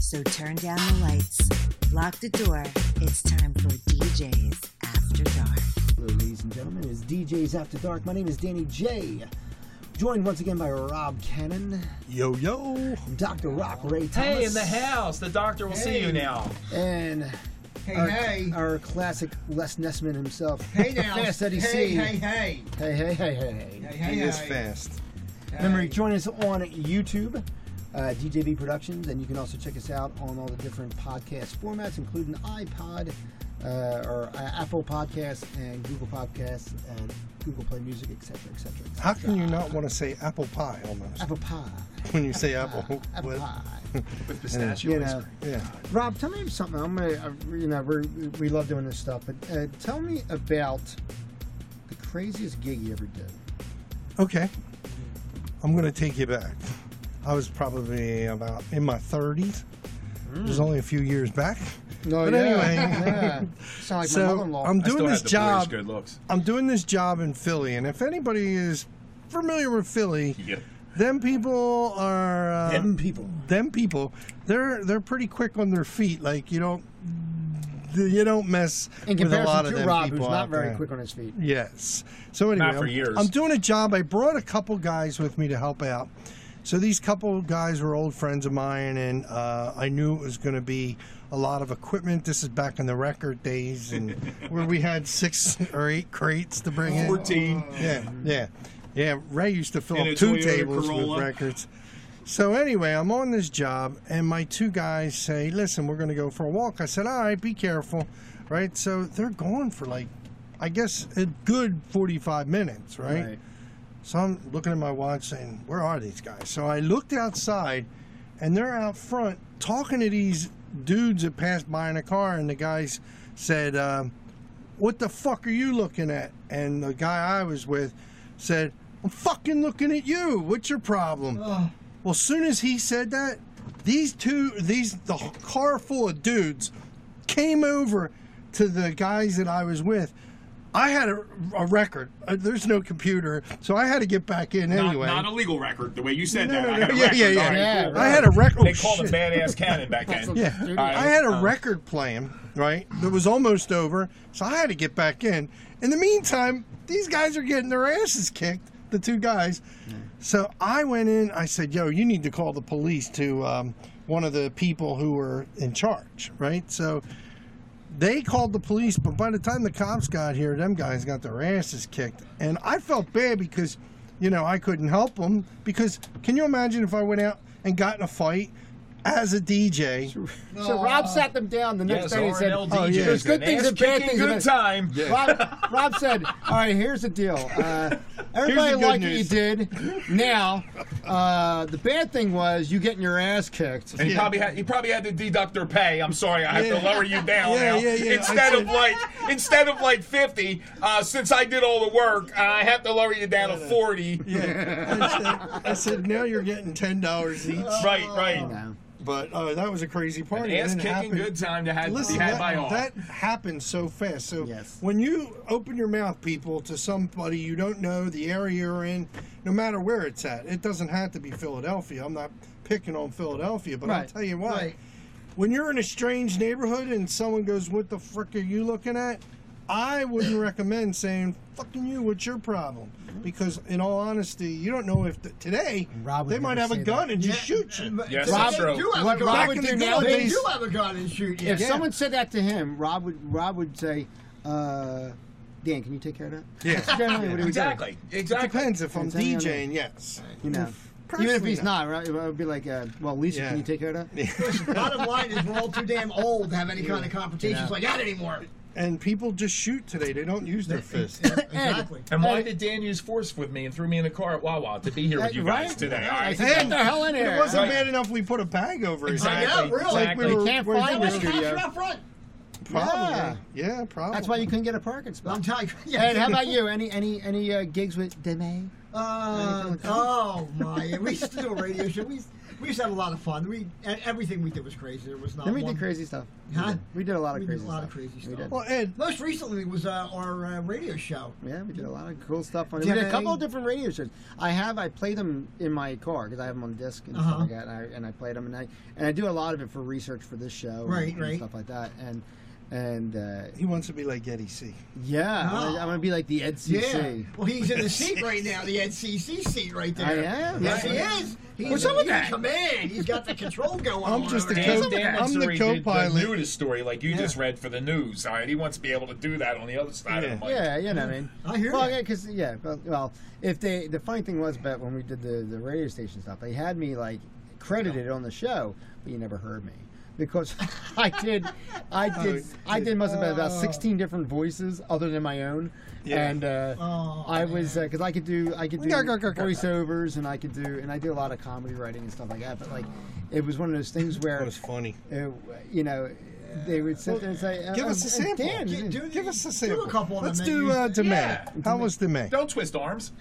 So turn down the lights, lock the door. It's time for DJs After Dark. Hello, ladies and gentlemen. It's DJ's After Dark. My name is Danny J. Joined once again by Rob Cannon, Yo, yo. Dr. Rock Ray Thomas, Hey, in the house, the doctor will see you now. and Hey, our, hey. our classic Les Nessman himself. hey now. Fast Eddie hey, C. hey, hey. hey, hey, hey, hey. Hey, He hey, is hey. fast. Hey. Remember, join us on YouTube, uh, DJV Productions, and you can also check us out on all the different podcast formats, including iPod, uh, or uh, Apple Podcasts, and Google Podcasts, and Google Play Music, etc., etc., etc. How can you not want to say apple pie almost Apple Pie. when you say apple? Apple what? Pie. With pistachio You ice know, cream. Yeah. Rob, tell me something. I'm gonna, I, you know, we're, we love doing this stuff, but uh, tell me about the craziest gig you ever did. Okay. I'm going to take you back. I was probably about in my 30s. It Mm. was only a few years back. No, But anyway. yeah. sound like my Oh, so mother-in-law. I'm I still doing this have the British job. good looks. I'm doing this job in Philly, and if anybody is familiar with Philly, Yeah. them people are uh, Them people. them people they're they're pretty quick on their feet like you don't you don't mess In with a lot comparison of to them Rob, people who's out not very there. quick on his feet. yes so anyway for I'm- years. I'm doing a job i brought a couple guys with me to help out so these couple guys were old friends of mine and uh, i knew it was going to be a lot of equipment this is back in the record days and where we had six or eight crates to bring in 14. yeah, yeah, yeah. Ray used to fill up In a two Toyota tables with Corolla. records. So anyway, I'm on this job, and my two guys say, "Listen, we're going to go for a walk." I said, "All right, be careful." Right. So they're gone for like, I guess, a good 45 minutes. Right. So I'm looking at my watch, saying, "Where are these guys?" So I looked outside, and they're out front talking to these dudes that passed by in a car, and the guys said. Um, what the fuck are you looking at? And the guy I was with said, I'm fucking looking at you. What's your problem? Well, soon as he said that, these two, these, the car full of dudes came over to the guys that I was with. I had a, a record. Uh, there's no computer, so I had to get back in Not, anyway. not a legal record, the way you said No, that. no, I no, had a yeah, record. yeah, All yeah, right. Yeah, I had a record. They oh, called shit. him Badass Cannon back then. Yeah. Dude, I had a record playing, right? That was almost over, so I had to get back in. In the meantime, these guys are getting their asses kicked, the two guys. So I went in, I said, Yo, you need to call the police to um, one of the people who were in charge, right? So they called the police, but by the time the cops got here, them guys got their asses kicked. And I felt bad because, you know, I couldn't help them. Because can you imagine if I went out and got in a fight as a DJ? So Rob sat them down the next Yes, day and said, RNL oh, yeah. DJ. There's good things and bad things in Good it. time. Rob, Rob said, "All right, here's the deal. Uh, everybody good liked what news. you did. Now, uh, the bad thing was you getting your ass kicked. And he Yeah. probably had he probably had to deduct their pay. I'm sorry, I have Yeah. to lower you down Yeah, now. yeah, yeah. Instead of like instead of like 50, uh, since I did all the work, I have to lower you down to 40. I, said, I said, now you're getting ten dollars each. Right, right. But uh, that was a crazy An party. It ass didn't kicking happen- good time to have to Listen, be had that, by all. that happened so fast. So Yes. when you open your mouth, people, to somebody you don't know, the area you're in, no matter where it's at, it doesn't have to be Philadelphia. I'm not picking on Philadelphia, but I'll Right, tell you what. right. When you're in a strange neighborhood and someone goes, "What the frick are you looking at?" I wouldn't recommend saying, "Fucking you, what's your problem?" Because in all honesty, you don't know if the, today Rob would they might never have say a gun that. and just shoot you. Yes, Rob, that's they true. do have What a gun. Rob Back would in the do day, they nowadays, do have a gun and shoot you. if Yeah. someone said that to him, Rob would Rob would say, uh, "Dan, can you take care of that?" Yeah. That's generally what he would do. Exactly. Exactly. Depends if I'm Depending on the- DJing, yes. You know, Personally, even if he's no. not, right? It would be like, uh, "Well, Lisa, Yeah. can you take care of that?" Bottom line is, we're all too damn old to have any kind of confrontations Yeah. like that anymore. And people just shoot today. They don't use their fists. Exactly. And why did Dan use force with me and threw me in the car at Wawa to be here with you Right? guys today? All I right. said, "Get the hell in here!" It wasn't Right. bad enough we put a bag over his head. I know, really. Like we Exactly. were, Can't we're find in the us. Why the cops studio. are up front? Probably. Yeah. Yeah, probably. That's why you couldn't get a parking spot. I'm telling you. And how about you? Any any any uh, gigs with Deme? Uh, oh my! We used to do a radio show. We used, We used to have a lot of fun. We and everything we did was crazy. There was not. Then we one- did crazy stuff. Huh? We did a lot of We did crazy. a lot of stuff. crazy We stuff. did. Well, Ed, Most recently was uh, our uh, radio show. Yeah, we did a lot of cool stuff on it. Do We you did have a couple any- of different radio shows. I have I play them in my car because I have them on disc and stuff Uh-huh. like that, and I, and I played them and I and I do a lot of it for research for this show, and- Right, and, right. stuff like that, and and uh, he wants to be like Eddie C. yeah, I'm, gonna, Oh. I'm gonna be like the Ed CC. Yeah. Well, he's in the seat right now, the NCC seat right there. I am, Yes, right. he is. He's What's in- up with he's that? in Command. He's got the control going I'm on. just over a there. co- Dan, I'm Dan wants to the read the- co-pilot. The news story, like you Yeah. just read for the news. All right, he wants to be able to do that on the other side Yeah. of the mic. Yeah, you know what I mean. I hear Well, ya. yeah, because yeah, but, well, if they the funny thing was, but when we did the the radio station stuff, they had me like credited on the show, but you never heard me because I did, I Oh, did, I did must have been about sixteen different voices other than my own, Yeah. and uh, Oh, I was because I could do I could do Grr, grr, grr, grr. voiceovers and I could do and I did a lot of comedy writing and stuff like that, but like it was one of those things That where was funny. uh, you know. They would sit there and say, uh, Give us a uh, sample. Dan, Gi- do- Give us a do sample. a couple of Let's them, do maybe. uh, DeMay. Yeah. How was DeMay? Don't twist arms.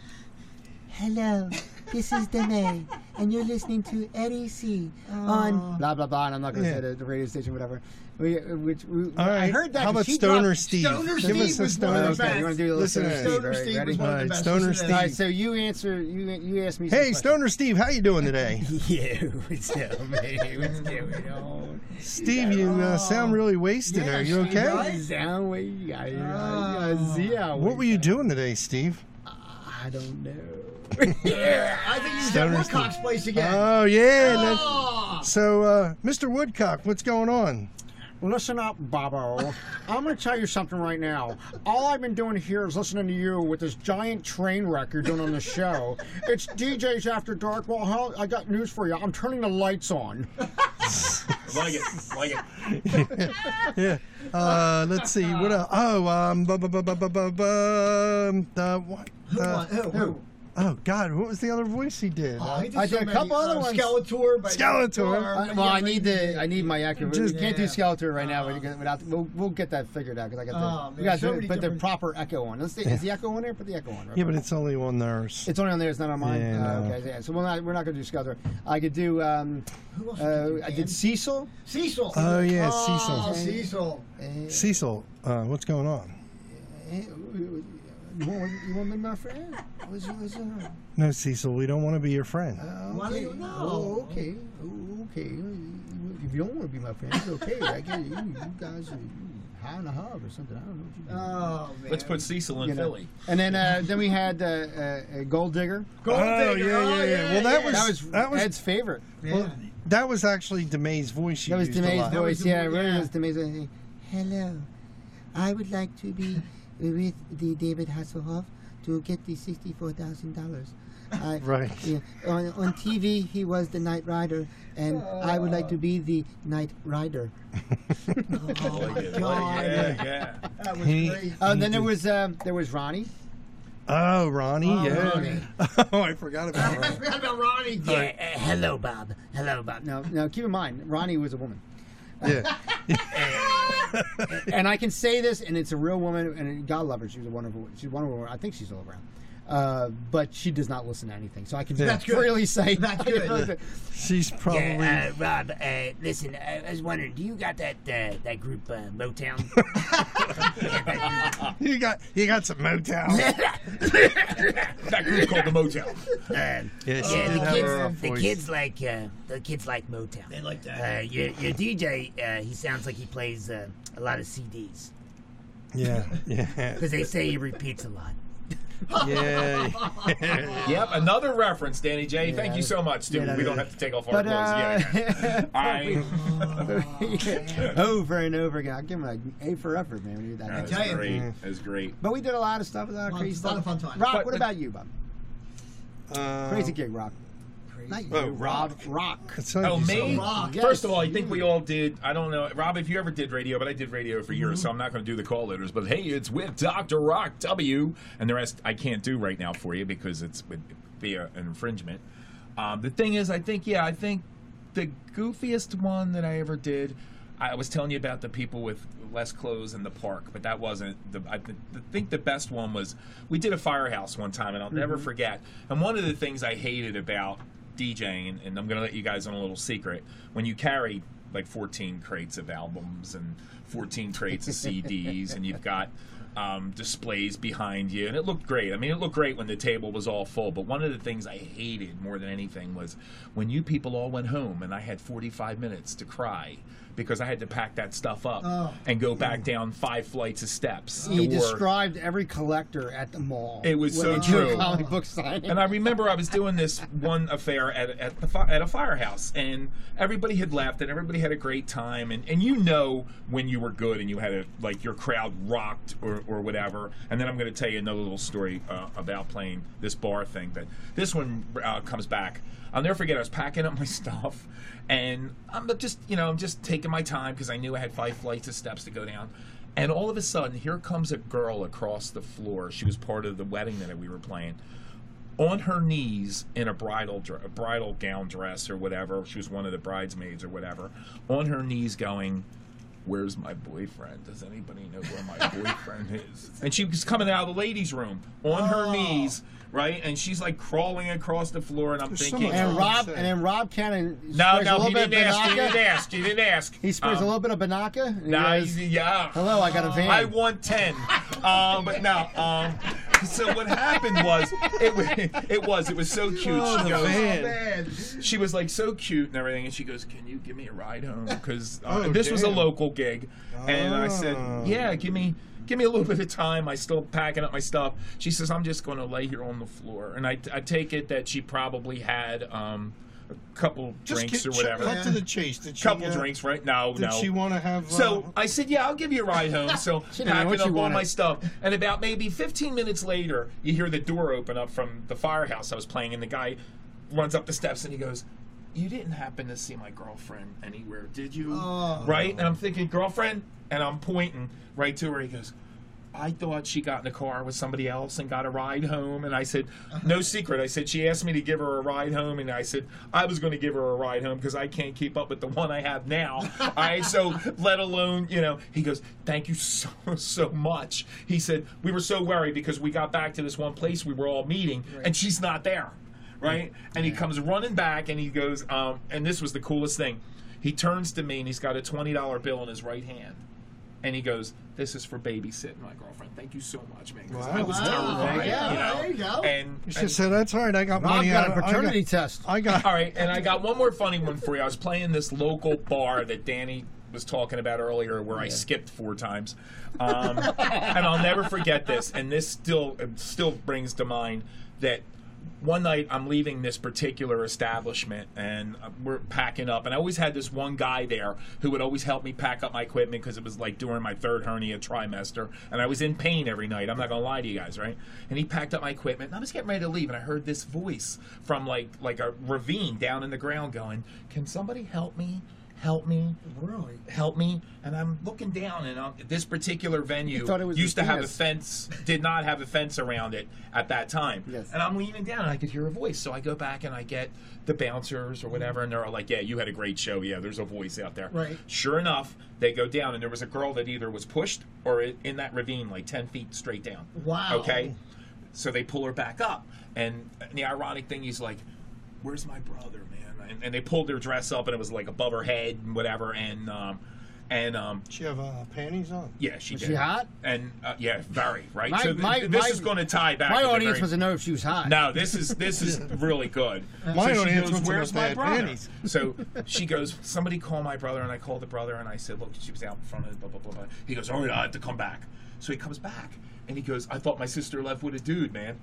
Hello, this is Danae, and you're listening to Eddie C. on blah blah blah, and I'm not going to Oh. Yeah. say the, the radio station, whatever. We, which we, All right. I heard that. How 'cause about she Stoner dropped- Steve? Stoner Give Steve us a was one Stoner of the Okay, Steve. best. you want to do a little Listen Stoner to Steve? all that. Stoner right, Steve ready? was one of the Alright, best. Stoner Listen to All that. right, so you answer. You you asked me. some Hey, Stoner Steve, how you doing today? questions. You, it's still me. What's going on? Steve, you uh, sound really wasted. Yeah, Are you Steve, okay? Oh. right? Sound way, I, I, I, yeah. What were you doing today, Steve? I don't know. I think he's Stoner at Steve. Woodcock's place again. Uh, Oh yeah. that- Oh. Ah! so, uh, Mr. Woodcock, what's going on? Listen up, Bobo. I'm going to tell you something right now. All I've been doing here is listening to you with this giant train wreck you're doing on the show. It's DJs After Dark. Well, hell, I got news for you. I'm turning the lights on. Like it, like it. Yeah. Uh, let's see. What? Uh, oh, um, bu- bu- bu- bu- bu- bu- bu- uh, what? Who Uh, won- who- who? oh God, what was the other voice he did? Oh, he I so did a many, couple other uh, ones. Uh, Skeletor. But Skeletor. Or- well, I need the I need my actor. Just- we can't do Yeah. Skeletor right now. Without, without we'll, we'll get that figured out because I got the Oh, man, we got so to many put the different- proper echo on. Let's see, is the echo on there? Put the echo on. Right? yeah, but it's only one nurse. It's only on there. It's not on mine. Yeah, Uh, no. okay, yeah. So we're not we're not going to do Skeletor. I could do. Um, Who else uh, did you I did do, Dan? Cecil. Cecil. Oh, yeah, Cecil. Oh, Cecil. Uh, Cecil, uh, what's going on? You want, uh, you want me, my friend? What's, what's on? No, Cecil, we don't want to be your friend. Why do you know? Oh, okay. Oh, okay. If you don't want to be my friend, it's okay. I get it. You, you guys are you high in the hub or something. I don't know what you're doing. Oh, man. Let's put Cecil in You know. Philly. And then, uh, then we had uh, uh, uh, Gold Digger. Gold Oh, Digger. yeah, Oh, yeah, yeah. Well, that That was, That was- Ed's favorite. Well, that was actually DeMay's voice. You That was used a Demay's lot. voice. was Yeah, the- it really yeah. was Demay's. voice. Hello, I would like to be with the David Hasselhoff to get the sixty-four thousand dollars. Right. Yeah, on, on TV, he was the Night Rider, and I would like to be the Night Rider. Oh, my Like God. it, yeah, yeah. That was He- great. Uh, then there was um, there was Ronnie. Oh, Ronnie, yeah. Ronnie. oh, I forgot about I Ronnie. forgot about Ronnie. Uh, Yeah. hello, Bob. Hello, Bob. Now, now keep in mind, Ronnie was a woman. Yeah. and I can say this, and it's a real woman, and God love her. She's a wonderful. She's a wonderful. Woman. I think she's all around, uh, but she does not listen to anything. So I can That's good. freely say That's I can good. really say- She's Oh, probably. Yeah, uh, Rob, uh, listen, I I was wondering, do you got that uh, that group uh, Motown? you got you got some Motown. That group called the Motel. Um, Yeah, she yeah, did have her the own kids, the voice. kids like uh, the kids like Motown. They like that. Uh, your, your DJ, uh, he sounds like he plays uh, a lot of CDs Yeah, yeah, because they say he repeats a lot. yeah. Yep, another reference, Danny J. Thank you so much, Steve. Yeah, we don't yeah. have to take off our But clothes. yeah, uh, All right. over and over again, I'll give him an A for effort, man. When you do that. That's tell you. great. That's great. But we did a lot of stuff, a lot of Lot- crazy lot stuff. of fun times. Rock, But- what but- about you, Bob? Um, Crazy gig, Rock. Not you, Oh, Rob. Rock. it's like Oh, you said- me? Rock, First of all, I think we all did. I don't know, Rob, if you ever did radio, but I did radio for years, so I'm not going to do the call letters. But hey, it's with Dr. Rock W, and the rest I can't do right now for you because it's would be a, an infringement. Um, the thing is, I think yeah, I think the goofiest one that I ever did. I was telling you about the people with less clothes in the park, but that wasn't the. I th- I think the best one was we did a firehouse one time, and I'll never forget. And one of the things I hated about DJing, and I'm going to let you guys on a little secret. When you carry like 14 crates of albums and 14 crates of CDs, and you've got um, displays behind you, and it looked great. I mean, it looked great when the table was all full, but one of the things I hated more than anything was when you people all went home and I had 45 minutes to cry because I had to pack that stuff up and go back down five flights of steps. He or- described every collector at the mall. It was when so he did a true. Comic book signing. and I remember I was doing this one affair at at, the fi- at a firehouse, and everybody had left, and everybody had a great time, and, and you know when you were good and you had a like your crowd rocked or, or whatever. And then I'm going to tell you another little story uh, about playing this bar thing, but this one uh, comes back. I'll never forget. I was packing up my stuff, and I'm just you know I'm just taking my time because I knew I had five flights of steps to go down. And all of a sudden, here comes a girl across the floor. She was part of the wedding that we were playing on her knees in a bridal dr- a bridal gown dress or whatever. She was one of the bridesmaids or whatever. On her knees, going, "Where's my boyfriend? Does anybody know where my boyfriend is?" And she was coming out of the ladies' room on Oh. her knees, right? And she's like crawling across the floor, and I'm There's so thinking, much- and Rob and then Rob Cannon. Oh, "No, sprays a no, little he bit didn't of ask. He Banaka. didn't ask. He didn't ask." He sprays Um, a little bit of Banaka. and he Nah, goes, he's- yeah. Hello, I got a van. I won ten. um, but no. Um, so what happened was it, wa- it was it was so cute. Oh, she the goes, van. Man, she was like so cute and everything, and she goes, "Can you give me a ride home?" Because uh, Oh, this was a damn. local gig, and I said, Oh. "Yeah, give me." Give me a little bit of time. I still packing up my stuff. She says, "I'm just going to lay here on the floor." And I, I take it that she probably had um, a couple Just drinks get- or whatever. Cut to the chase. Did she, couple uh, drinks, right? No, Did no. she want to have? uh, So I said, "Yeah, I'll give you a ride home." So didn't know what packing she up all wanted. my stuff, and about maybe 15 minutes later, you hear the door open up from the firehouse I was playing, and the guy runs up the steps and he goes, "You didn't happen to see my girlfriend anywhere, did you?" Oh. Right? And I'm thinking, "Girlfriend," and I'm pointing right to her. He goes. I thought she got in the car with somebody else and got a ride home. And I said, No secret. I said, She asked me to give her a ride home. And I said, I was going to give her a ride home because I can't keep up with the one I have now. I so, let alone, you know, he goes, Thank you so, so much. He said, We were so worried because we got back to this one place we were all meeting and she's not there. Right? And he comes running back and he goes, um, And this was the coolest thing. He turns to me and he's got a $20 bill in his right hand and he goes, "This is for babysitting my girlfriend. Thank you so much, man." 'cause I was Wow. terrified. Yeah, you know? there you go. And, She and- said, "That's all right. I got Rob money got out a of- I paternity test. I got all right, and I got one more funny one for you. I was playing this local bar that Danny was talking about earlier, where I skipped four times, um, and I'll never forget this. And this still it still brings to mind that. One night, I'm leaving this particular establishment, and uh, we're packing up. And I always had this one guy there who would always help me pack up my equipment because it was like during my third hernia trimester, and I was in pain every night. I'm not gonna lie to you guys, right? And he packed up my equipment, and I was getting ready to leave, and I heard this voice from like like a ravine down in the ground going, "Can somebody help me? Help me! Really? Help me!" And I'm looking down, and I'm, this particular venue thought it was used to his have a penis. fence, did not have a fence around it at that time. Yes. And I'm leaning down, and I could hear a voice, so I go back and I get the bouncers or whatever, and they're all like, "Yeah, you had a great show. Yeah, there's a voice out there." Right. Sure enough, they go down, and there was a girl that either was pushed or i- in that ravine, like 10 feet straight down. Wow. Okay? So they pull her back up. And the ironic thing is, like, where's my brother, man? And, and they pulled their dress up, and it was like above her head and whatever. And, um, and, um, she have uh, panties on. yeah, she Was did. she hot? And, uh, yeah, very, right? My- so th- my- this my- is going to tie back. My to the audience very- doesn't know if she was hot. no, this is this is really good. My so she audience goes, wants to "Where's know my if they had brother?" panties. So she goes, "Somebody call my brother." And I called the brother, and I said, "Look, she was out in front of blah blah blah." blah. He goes, "All right, I have to come back." So he comes back, and he goes, "I thought my sister left with a dude, man."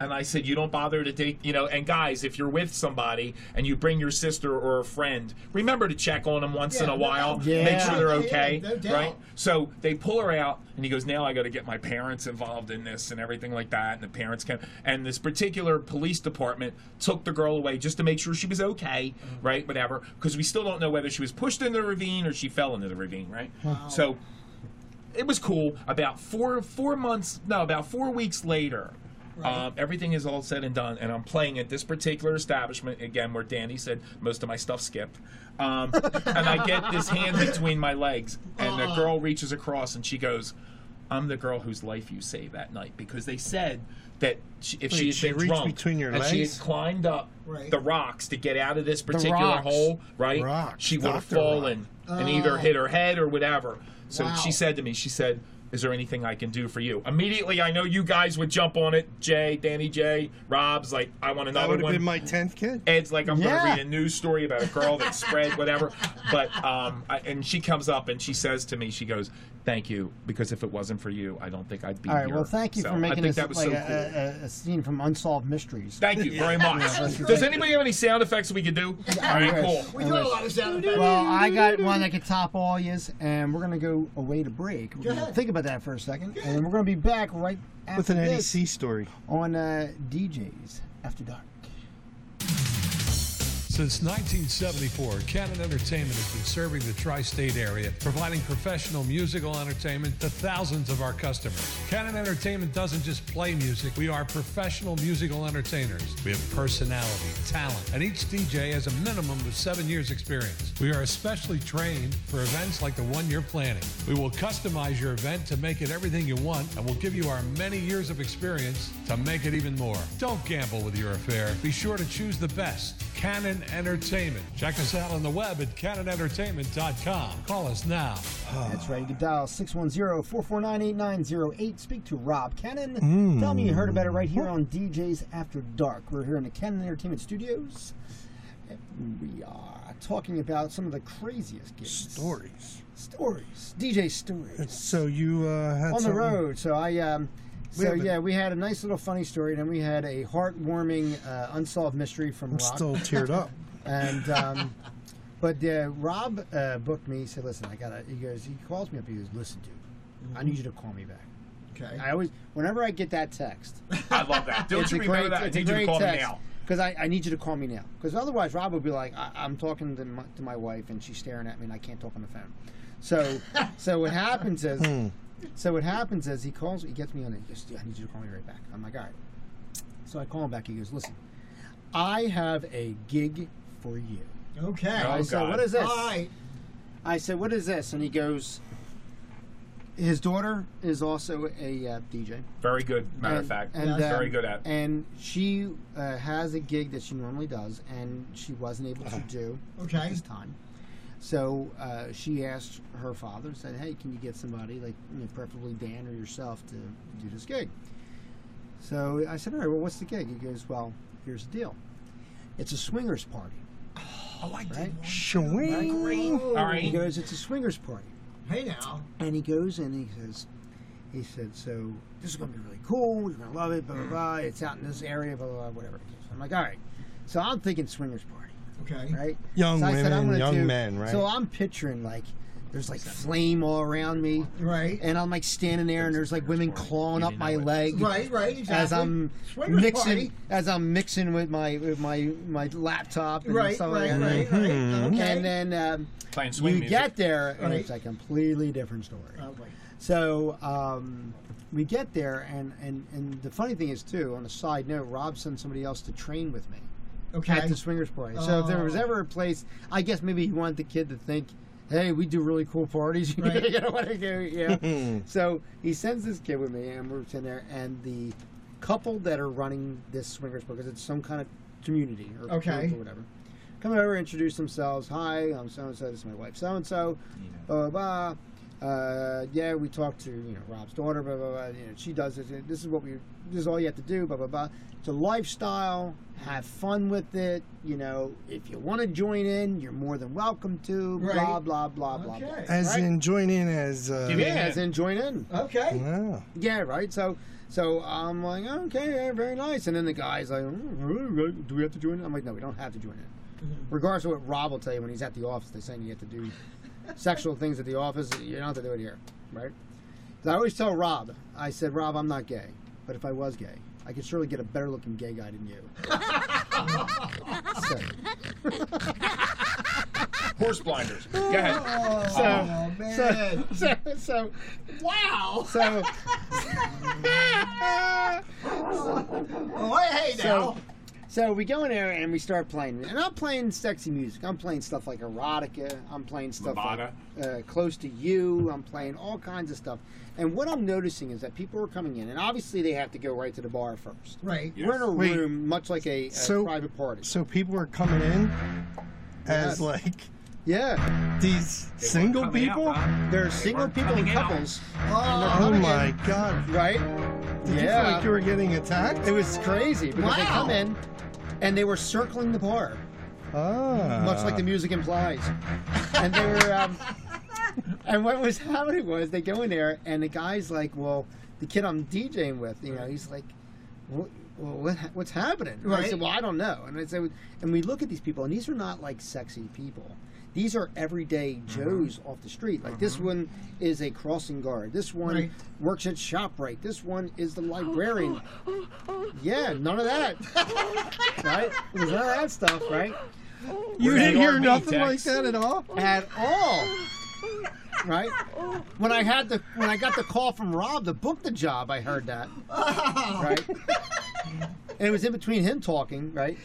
And I said, "You don't bother to take, you know." And guys, if you're with somebody and you bring your sister or a friend, remember to check on them once in Yeah, a no while, doubt. make sure they're Yeah, okay, yeah, no doubt. right? So they pull her out, and he goes, "Now I got to get my parents involved in this and everything like that." And the parents can. And this particular police department took the girl away just to make sure she was okay, Mm-hmm. right? Whatever, because we still don't know whether she was pushed into the ravine or she fell into the ravine, right? So it was cool. About four four months, no, about four weeks later, um, everything is all said and done, and I'm playing at this particular establishment again, where Danny said most of my stuff skipped, um, and I get this hand between my legs, and the girl reaches across and she goes. I'm the girl whose life you saved that night because they said that she, if Wait, she had she been reached drunk between your and she had legs? climbed up Right. the rocks to get out of this particular rocks. hole, right? Rocks. She would have Dr. fallen and either hit her head or whatever. So Wow. she said to me, she said, "Is there anything I can do for you?" Immediately, I know you guys would jump on it. Jay, Danny, Jay, Rob's like, "I want That another would have one." been my tenth kid. Ed's like, I'm Yeah. going to read a news story about a girl that spread whatever. But, um, I, and she comes up and she says to me, she goes, Thank you, because if it wasn't for you, I don't think I'd be All right. here. Well, thank you So for I making think this that was like so cool. a, a, a scene from Unsolved Mysteries. Thank you very much. Does anybody have any sound effects we could do? All right, wish. cool. We do have a lot of sound effects. Well, I got one that could top all yous, and we're gonna go away to break. We're gonna ahead. think about that for a second, and then we're gonna be back right after with an this NEC story. on uh, DJs After Dark. Since 1974, Cannon Entertainment has been serving the tri state area, providing professional musical entertainment to thousands of our customers. Cannon Entertainment doesn't just play music, we are professional musical entertainers. We have personality, talent, and each DJ has a minimum of seven years' experience. We are especially trained for events like the one you're planning. We will customize your event to make it everything you want, and we'll give you our many years of experience to make it even more. Don't gamble with your affair. Be sure to choose the best. Canon Entertainment. Check us out on the web at canonentertainment.com. Call us now. That's right. You can dial 610-449-8908. Speak to Rob Cannon. Tell me you heard about it right here on DJs After Dark. We're here in the Cannon Entertainment Studios. and We are talking about some of the craziest gigs. Stories. Stories. DJ stories. So you uh, had on the something- road. So I, um, We so have a- yeah, we had a nice little funny story, and then we had a heartwarming uh, unsolved mystery from I'm Rock. still teared up. And um, but uh, Rob uh, booked me. He said, "Listen, I got." He goes, he calls me up. He goes, "Listen, dude, Mm-hmm. I need you to call me back." Okay. I always, whenever I get that text, I love that. Don't it's you a remember great, that? I it's a need you to great call me text. now. Because I, I need you to call me now. Because otherwise, Rob will be like, I, I'm talking to my, to my wife and she's staring at me and I can't talk on the phone. So, so what happens is, so what happens is he calls, he gets me on it. He goes, "Dude, I need you to call me right back. I'm like, all right. So I call him back. He goes, listen, I have a gig for you. Okay. Oh, I said, God. what is this? All right. I said, what is this? And he goes, his daughter is also a uh, DJ. Very good, matter of And- fact. and, um, Very good at And she uh, has a gig that she normally does, and she wasn't able to do Okay. this time. So uh, she asked her father, said, "Hey, can you get somebody like you know, preferably Dan or yourself to do this gig?" So I said, "All right, well, what's the gig?" He goes, "Well, here's the deal. It's a swingers party." Oh, I did Right? one. Shwing. Oh, All He right. goes, "It's a swingers party." Hey now. And he goes and he says, he said, so this is going to be really cool. You're going to love it, blah, blah, blah. Mm. It's out in this area, blah, blah, blah, whatever it is. I'm like, all right. So I'm thinking swingers party, Okay. right? Young so women, gonna young men, right? So I'm picturing like, there's like flame all around me. Right. And I'm like standing there and there's like women clawing up my leg. Right. Right. Exactly. As I'm Swingers mixing, party. as I'm mixing with my with my my laptop and Right. Right. stuff like that. Hmm. Right. Right. Okay. And then um, Playing you swing music. get there and Right. it's a completely different story. Oh, boy. So um, we get there, and, and, and the funny thing is, too, on a side note, Rob sent somebody else to train with me Okay. at the swingers party. So if there was Oh. ever a place, I guess maybe he wanted the kid to think, hey, we do really cool parties. you Right. know what I do? Yeah. so he sends this kid with me, and we're sitting there, and the couple that are running this swingers because it's some kind of community or group Okay. or whatever. Come over, introduce themselves. Hi, I'm so and so. This is my wife, so and so. Blah blah. blah. Uh, yeah, we talked to you know Rob's daughter. Blah blah blah. You know, she does this. This is what we. This is all you have to do. Blah blah blah. It's a lifestyle. Have fun with it. You know, if you want to join in, you're more than welcome to. Blah Right. blah blah blah. blah. Okay. As Right. in join in as. Uh, Yeah. Yeah, as in join in. Okay. wow. Yeah, right. So, so I'm like, okay, yeah, very nice. And then the guy's like, "Mm, do we have to join it? I'm like, no, we don't have to join it. Regardless of what Rob will tell you when he's at the office, they're saying you have to do sexual things at the office. You don't have to do it here, right? 'Cause I always tell Rob, I said, Rob, I'm not gay, but if I was gay, I could surely get a better looking gay guy than you. so, Horse blinders. Go ahead. so, Oh man. so, so, wow. so, Oh, hey now. so, So we go in there and we start playing, and I'm playing sexy music. I'm playing stuff like erotica. I'm playing stuff like uh, close to you. I'm playing all kinds of stuff. And what I'm noticing is that people are coming in, and obviously they have to go right to the bar first. Right. We're in a Wait. room much like a, a So- private party. So people are coming in Yes. as like Yeah, these single coming out, people. Bob. there are single weren't people and coming out. couples, oh my god! right? Did you Yeah. feel like you were getting attacked? It was crazy because they Wow. come in and they were circling the bar, Ah. much like the music implies. And they were, um, and what was happening was they go in there and the guy's like, well, the kid I'm DJing with, you know, he's like, what, well, what, ha- what's happening? And I Right. said, well, I don't know. And I said, and we look at these people and these are not like sexy people. These are everyday Mm-hmm. Joes off the street. Like this one is a crossing guard. This one Right. Oh, works at ShopRite. This one is the librarian. Yeah, none of that. right? It was none of that stuff, right? You We're didn't in hear RV nothing like techs. that at all. At all. Right? When I had the when I got the call from Rob to book the job, I heard that. Right? And it was in between him talking, right?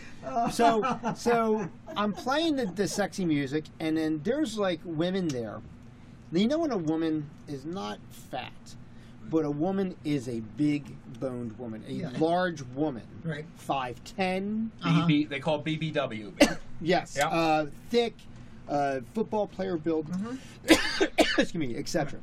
So so I'm playing the, the sexy music and then there's like women there. You know when a woman is not fat, but a woman is a big boned woman, a Yeah. large woman. Right. Five ten. BB, they call it BBW. Yes. Yeah. Uh, thick, uh, football player build. Mm-hmm. excuse me, etc.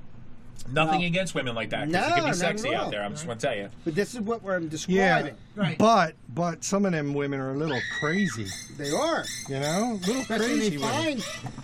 Nothing against women like that. 'cause No, it can not be at sexy all. out there. I'm just going to tell you. But this is what we're- I'm Yeah, describing. Right. but but some of them women are a little crazy, They are. you know, little Especially when crazy you women. find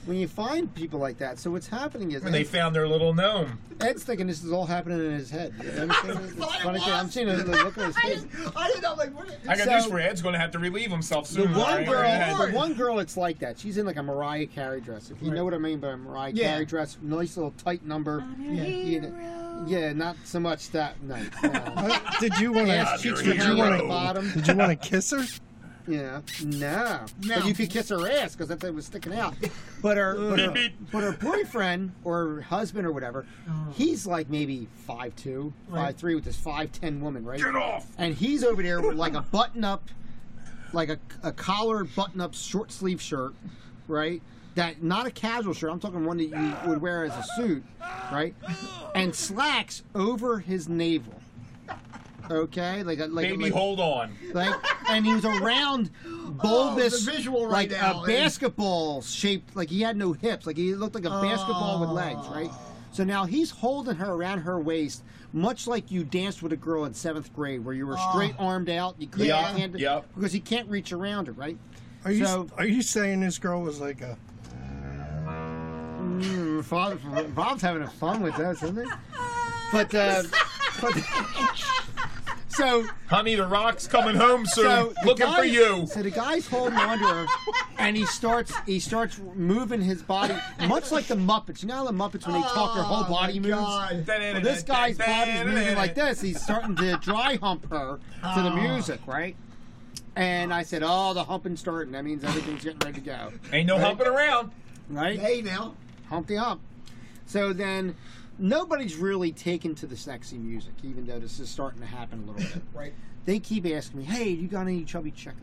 when you find people like that. So what's happening is When they Ed, found their little gnome. Ed's thinking this is all happening in his head. You understand this? It's it funny thing. I'm was. seeing a look on his I face. didn't, I didn't know, like, what is I got So- news for you. Ed's going to have to relieve himself The soon. one Ryan. Go ahead. girl, Lord. the one girl, it's like that. She's in like a Mariah Carey dress. If you know what I mean by a Mariah Yeah. Carey dress, nice little tight number. Yeah, you know- yeah, not so much that. No, no. Uh, did you want ass to? cheeks were you're a Did you down hero. at the want bottom. to? Did you want to kiss her? Yeah, no. No. But you could kiss her ass because that thing was sticking out. But her, but her, but her boyfriend or her husband or whatever, he's like maybe five two, five three with this five ten woman, right? Get off. And he's over there with like a button up, like a, a collar button up short sleeve shirt, right? That not a casual shirt. I'm talking one that you would wear as a suit, right? And slacks over his navel. Okay, like a like Baby, like, hold on. like, and he was a round, bulbous, the visual right like now a is- basketball shaped. Like he had no hips. Like he looked like a basketball with legs, right? So now he's holding her around her waist, much like you danced with a girl in seventh grade, where you were straight armed out. You couldn't Yeah. hand it Yep. because he can't reach around her, right? Are you So- are you saying this girl was like a? Mm, Bob- Bob's having fun with us, isn't he? But, uh, but so Honey, the rock's coming home soon. So the Looking guy- for you. So the guy's holding on to her, and he starts he starts moving his body, much like the Muppets. You know how the Muppets when they talk, their whole Oh, body my moves. God. Well, this guy's body's moving like this. He's starting to dry hump her to Ah. the music, right? And I said, "Oh, the humping's starting. That means everything's getting ready to go, Ain't no humping around. right?" Hey, now. Humpty Hump. So then, nobody's really taken to the sexy music, even though this is starting to happen a little bit. Right. They keep asking me, "Hey, do you got any chubby checker?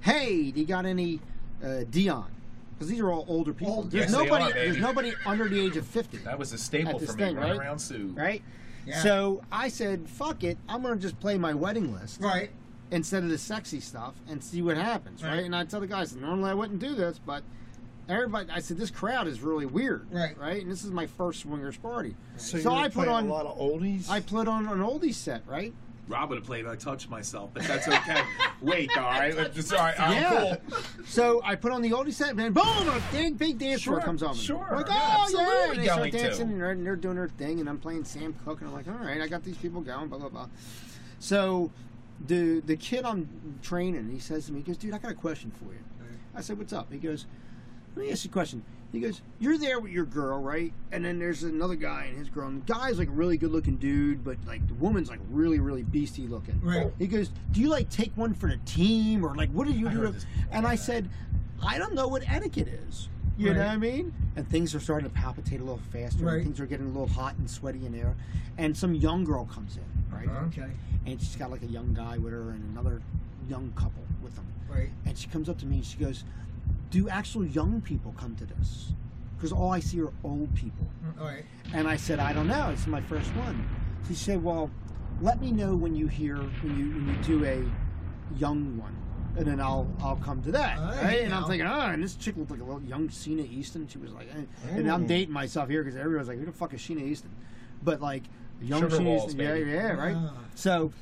Hey, do you got any uh, Dion?" Because these are all older people. Old- there's Yes, they nobody. are, baby. there's nobody under the age of fifty, That was a At staple this for me. thing, Run right? around Sue. right? Yeah. So I said, "Fuck it, I'm gonna just play my wedding list." Right. instead of the sexy stuff and see what happens, right? Right. And I tell the guys, normally I wouldn't do this, but everybody, I said, this crowd is really weird, Right. Right? And this is my first swingers party, so, you were I put playing on, a lot of oldies. I put on an oldie set, right? Rob would have played I Touch Myself, but that's okay. Wait, all right. It's all right. I'm Yeah. cool. So I put on the oldie set, and then boom, a big, big dance floor Sure, comes on. sure. like oh Yeah, yeah, absolutely and they start going to. dancing, and they're, and they're doing their thing, and I'm playing Sam Cooke, and I'm like, all right, I got these people going, blah blah blah. So the the kid I'm training, he says to me, he goes, dude, I got a question for you. I said, what's up? He goes, let me ask you a question. He goes, you're there with your girl, right? And then there's another guy and his girl. And the guy's like a really good looking dude, but like the woman's like really, really beastie looking. Right. He goes, do you like take one for the team or like what do you do? this and I said, I don't know what etiquette is. You know what I mean? And things are starting to palpitate a little faster. Right. And things are getting a little hot and sweaty in there. And some young girl comes in, right? Okay. and she's got like a young guy with her and another young couple with them. Right. And she comes up to me and she goes, "Do actual young people come to this?" Because all I see are old people. All right. And I said, I don't know. It's my first one. She said, Well, let me know when you hear when you when you do a young one, and then I'll I'll come to that. All right, right? And I'm now. thinking, oh, and this chick looked like a little young Sheena Easton. She was like, eh. and I'm dating myself here because everyone's like, who the fuck is Sheena Easton? But like young Sugar Sheena Walls, Easton, yeah, baby. yeah, right. Ah. So,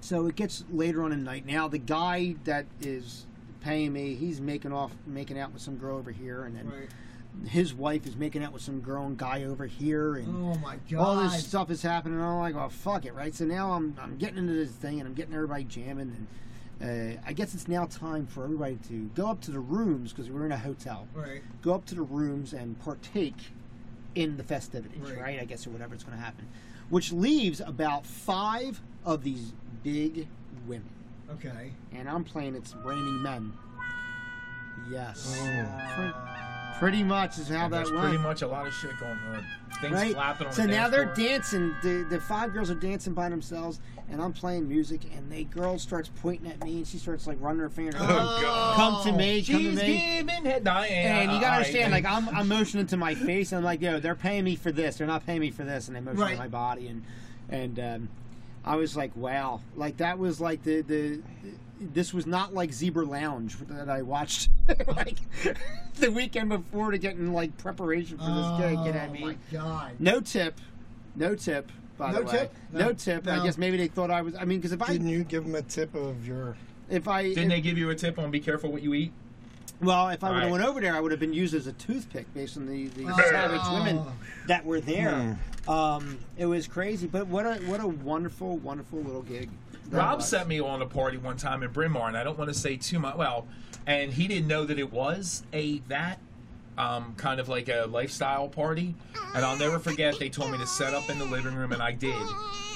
so it gets later on in the night. Now the guy that is paying me, he's making off, making out with some girl over here, and then Right. his wife is making out with some girl and guy over here, and Oh my god. all this stuff is happening. And I'm like, well, fuck it, right? So now I'm I'm getting into this thing, and I'm getting everybody jamming, and uh, I guess it's now time for everybody to go up to the rooms because we're in a hotel. Right. Go up to the rooms and partake in the festivities, Right. right? I guess or whatever's going to happen, which leaves about five of these big women, Okay. and I'm playing it's raining men. Yes, Pre- pretty much is how that There's went Oh. pretty much a lot of shit going on. Things flapping on so the now dance they're floor. dancing. The, the five girls are dancing by themselves, and I'm playing music, and the girl starts pointing at me, and she starts like running her finger. Oh, God. Come to me, come She's to me. giving head Diane. And you gotta understand, Alright. like I'm, I'm motioning to my face, and I'm like, yo, they're paying me for this, they're not paying me for this, and they motion Right. to my body, and and um, I was like, wow, like that was like the the. This was not like Zebra Lounge that I watched like the weekend before to get in like preparation for this gig. You know what I Oh mean? my god. No tip. No tip. By the No way, tip? no, No. tip. No. I guess maybe they thought I was. I mean, because if I Didn't you give him a tip of your? if I Didn't if- they give you a tip on be careful what you eat? well if I would have Alright. went over there, I would have been used as a toothpick based on the, the Oh. savage women that were there. Hmm. Um, it was crazy, but what a what a wonderful, wonderful little gig. that Rob was. set me on a party one time in Bryn Mawr, and I don't want to say too much. Well, and he didn't know that it was a that um, kind of like a lifestyle party, and I'll never forget. They told me to set up in the living room, and I did.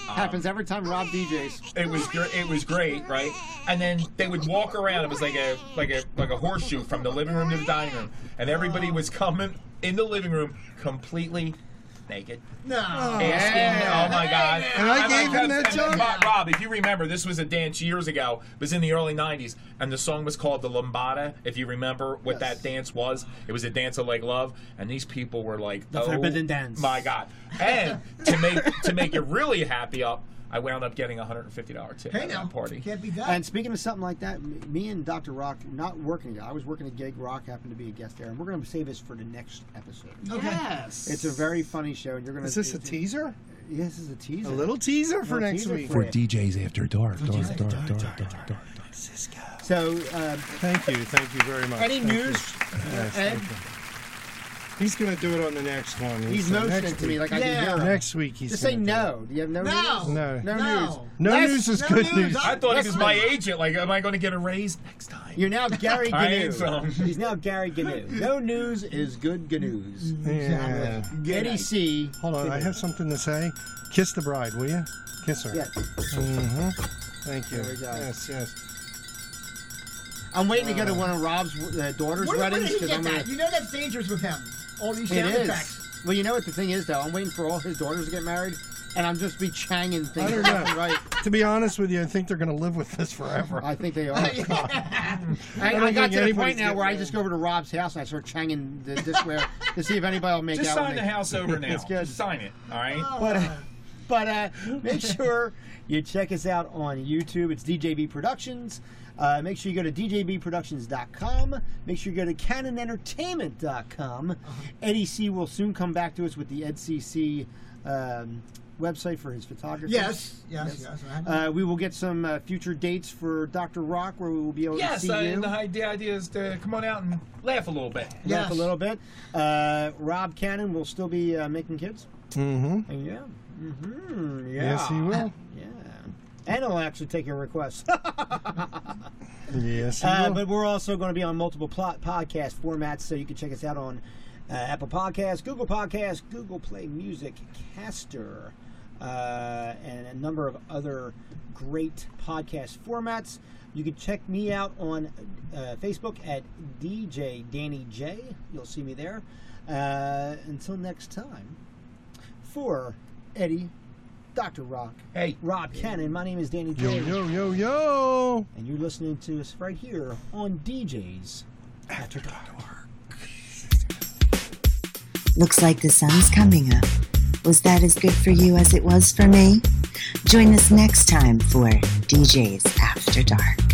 happens every time Rob DJs. It was gr- it was great, right? And then they would walk around. It was like a like a like a horseshoe from the living room to the dining room, and everybody was coming in the living room completely naked. No. Asking, Yeah. oh my god! And I gave him that and- and job. Bob- Rob, if you remember, this was a dance years ago. It was in the early '90s, and the song was called the Lambada. If you remember what that dance was, it was a dance of like love, and these people were like The oh, forbidden dance." My god! And to make to make you really happy up, I wound up getting a hundred and fifty dollar tip Hey at now. that party. Can't be done. And speaking of something like that, m- me and Dr. Rock not working together. I was working a gig. Rock happened to be a guest there, and we're going to save this for the next episode. okay. It's a very funny show, and you're going to. Is this a teaser? Yes, it's a teaser. A little teaser for Little next teaser week. for you. DJs after dark. Dark, dark, dark, dark, dark, So, um, Thank you, thank you very much. any Thank you. news? Yes, Ed, thank you. He's gonna do it on the next one. He he's said motioning next to me week. like I can Yeah. hear him. next week. He's Just say gonna do it. no. Do you have no, No. news? No. No, news. No. No Less- news is no good news. news. I thought he was my agent. Like, am I going to get a raise next time? You're now Gary I ain't Gnu. some. He's now Gary Gnu. No news is good news. Yeah. Eddie C. Hold on, I have something to say. Kiss the bride, will you? Kiss her. Yeah. hmm Thank you. There we go. Yes, yes. I'm waiting to go to one of Rob's uh, daughter's Where, where did weddings he get I'm that? You know that's dangerous with him. All these It sound effects. is. Well, you know what the thing is though. I'm waiting for all his daughters to get married, and I'm just be changing things. I don't left know. and right. To be honest with you, I think they're going to live with this forever. I think they are. I, I, don't got think to the anybody's point now where I getting just go over to Rob's house and I start changing the dishware to see if anybody will make Just out. with sign me. the house over now. That's good. Just sign it. All right. But, uh, but uh, make sure you check us out on YouTube. It's DJB Productions. Uh, make sure you go to djbproductions.com. Make sure you go to canonentertainment.com. Eddie C will soon come back to us with the EdCC um, website for his photography. Yes. Yes. Yes. right. Uh, we will get some uh, future dates for Dr. Rock where we will be able to Yes, see uh, you. and the hi- the idea is to come on out and laugh a little bit. laugh Yes. a little bit. Uh, Rob Cannon will still be uh, making kids. hmm And yeah. Mm-hmm. Yeah. Yes, he will. Yeah. And it'll actually take your request. Yes, he uh, will. but we're also going to be on multiple plot podcast formats, so you can check us out on uh, Apple Podcasts, Google Podcasts, Google Play Music, Caster, uh, and a number of other great podcast formats. You can check me out on uh, Facebook at DJ Danny J. You'll see me there. Uh, until next time, for Eddie Dr. Rock, Hey. Rob Cannon. My name is Danny Yo, Jones, yo, yo, yo. and you're listening to us right here on DJs After Dark. Looks like the sun's coming up. Was that as good for you as it was for me? Join us next time for DJs After Dark.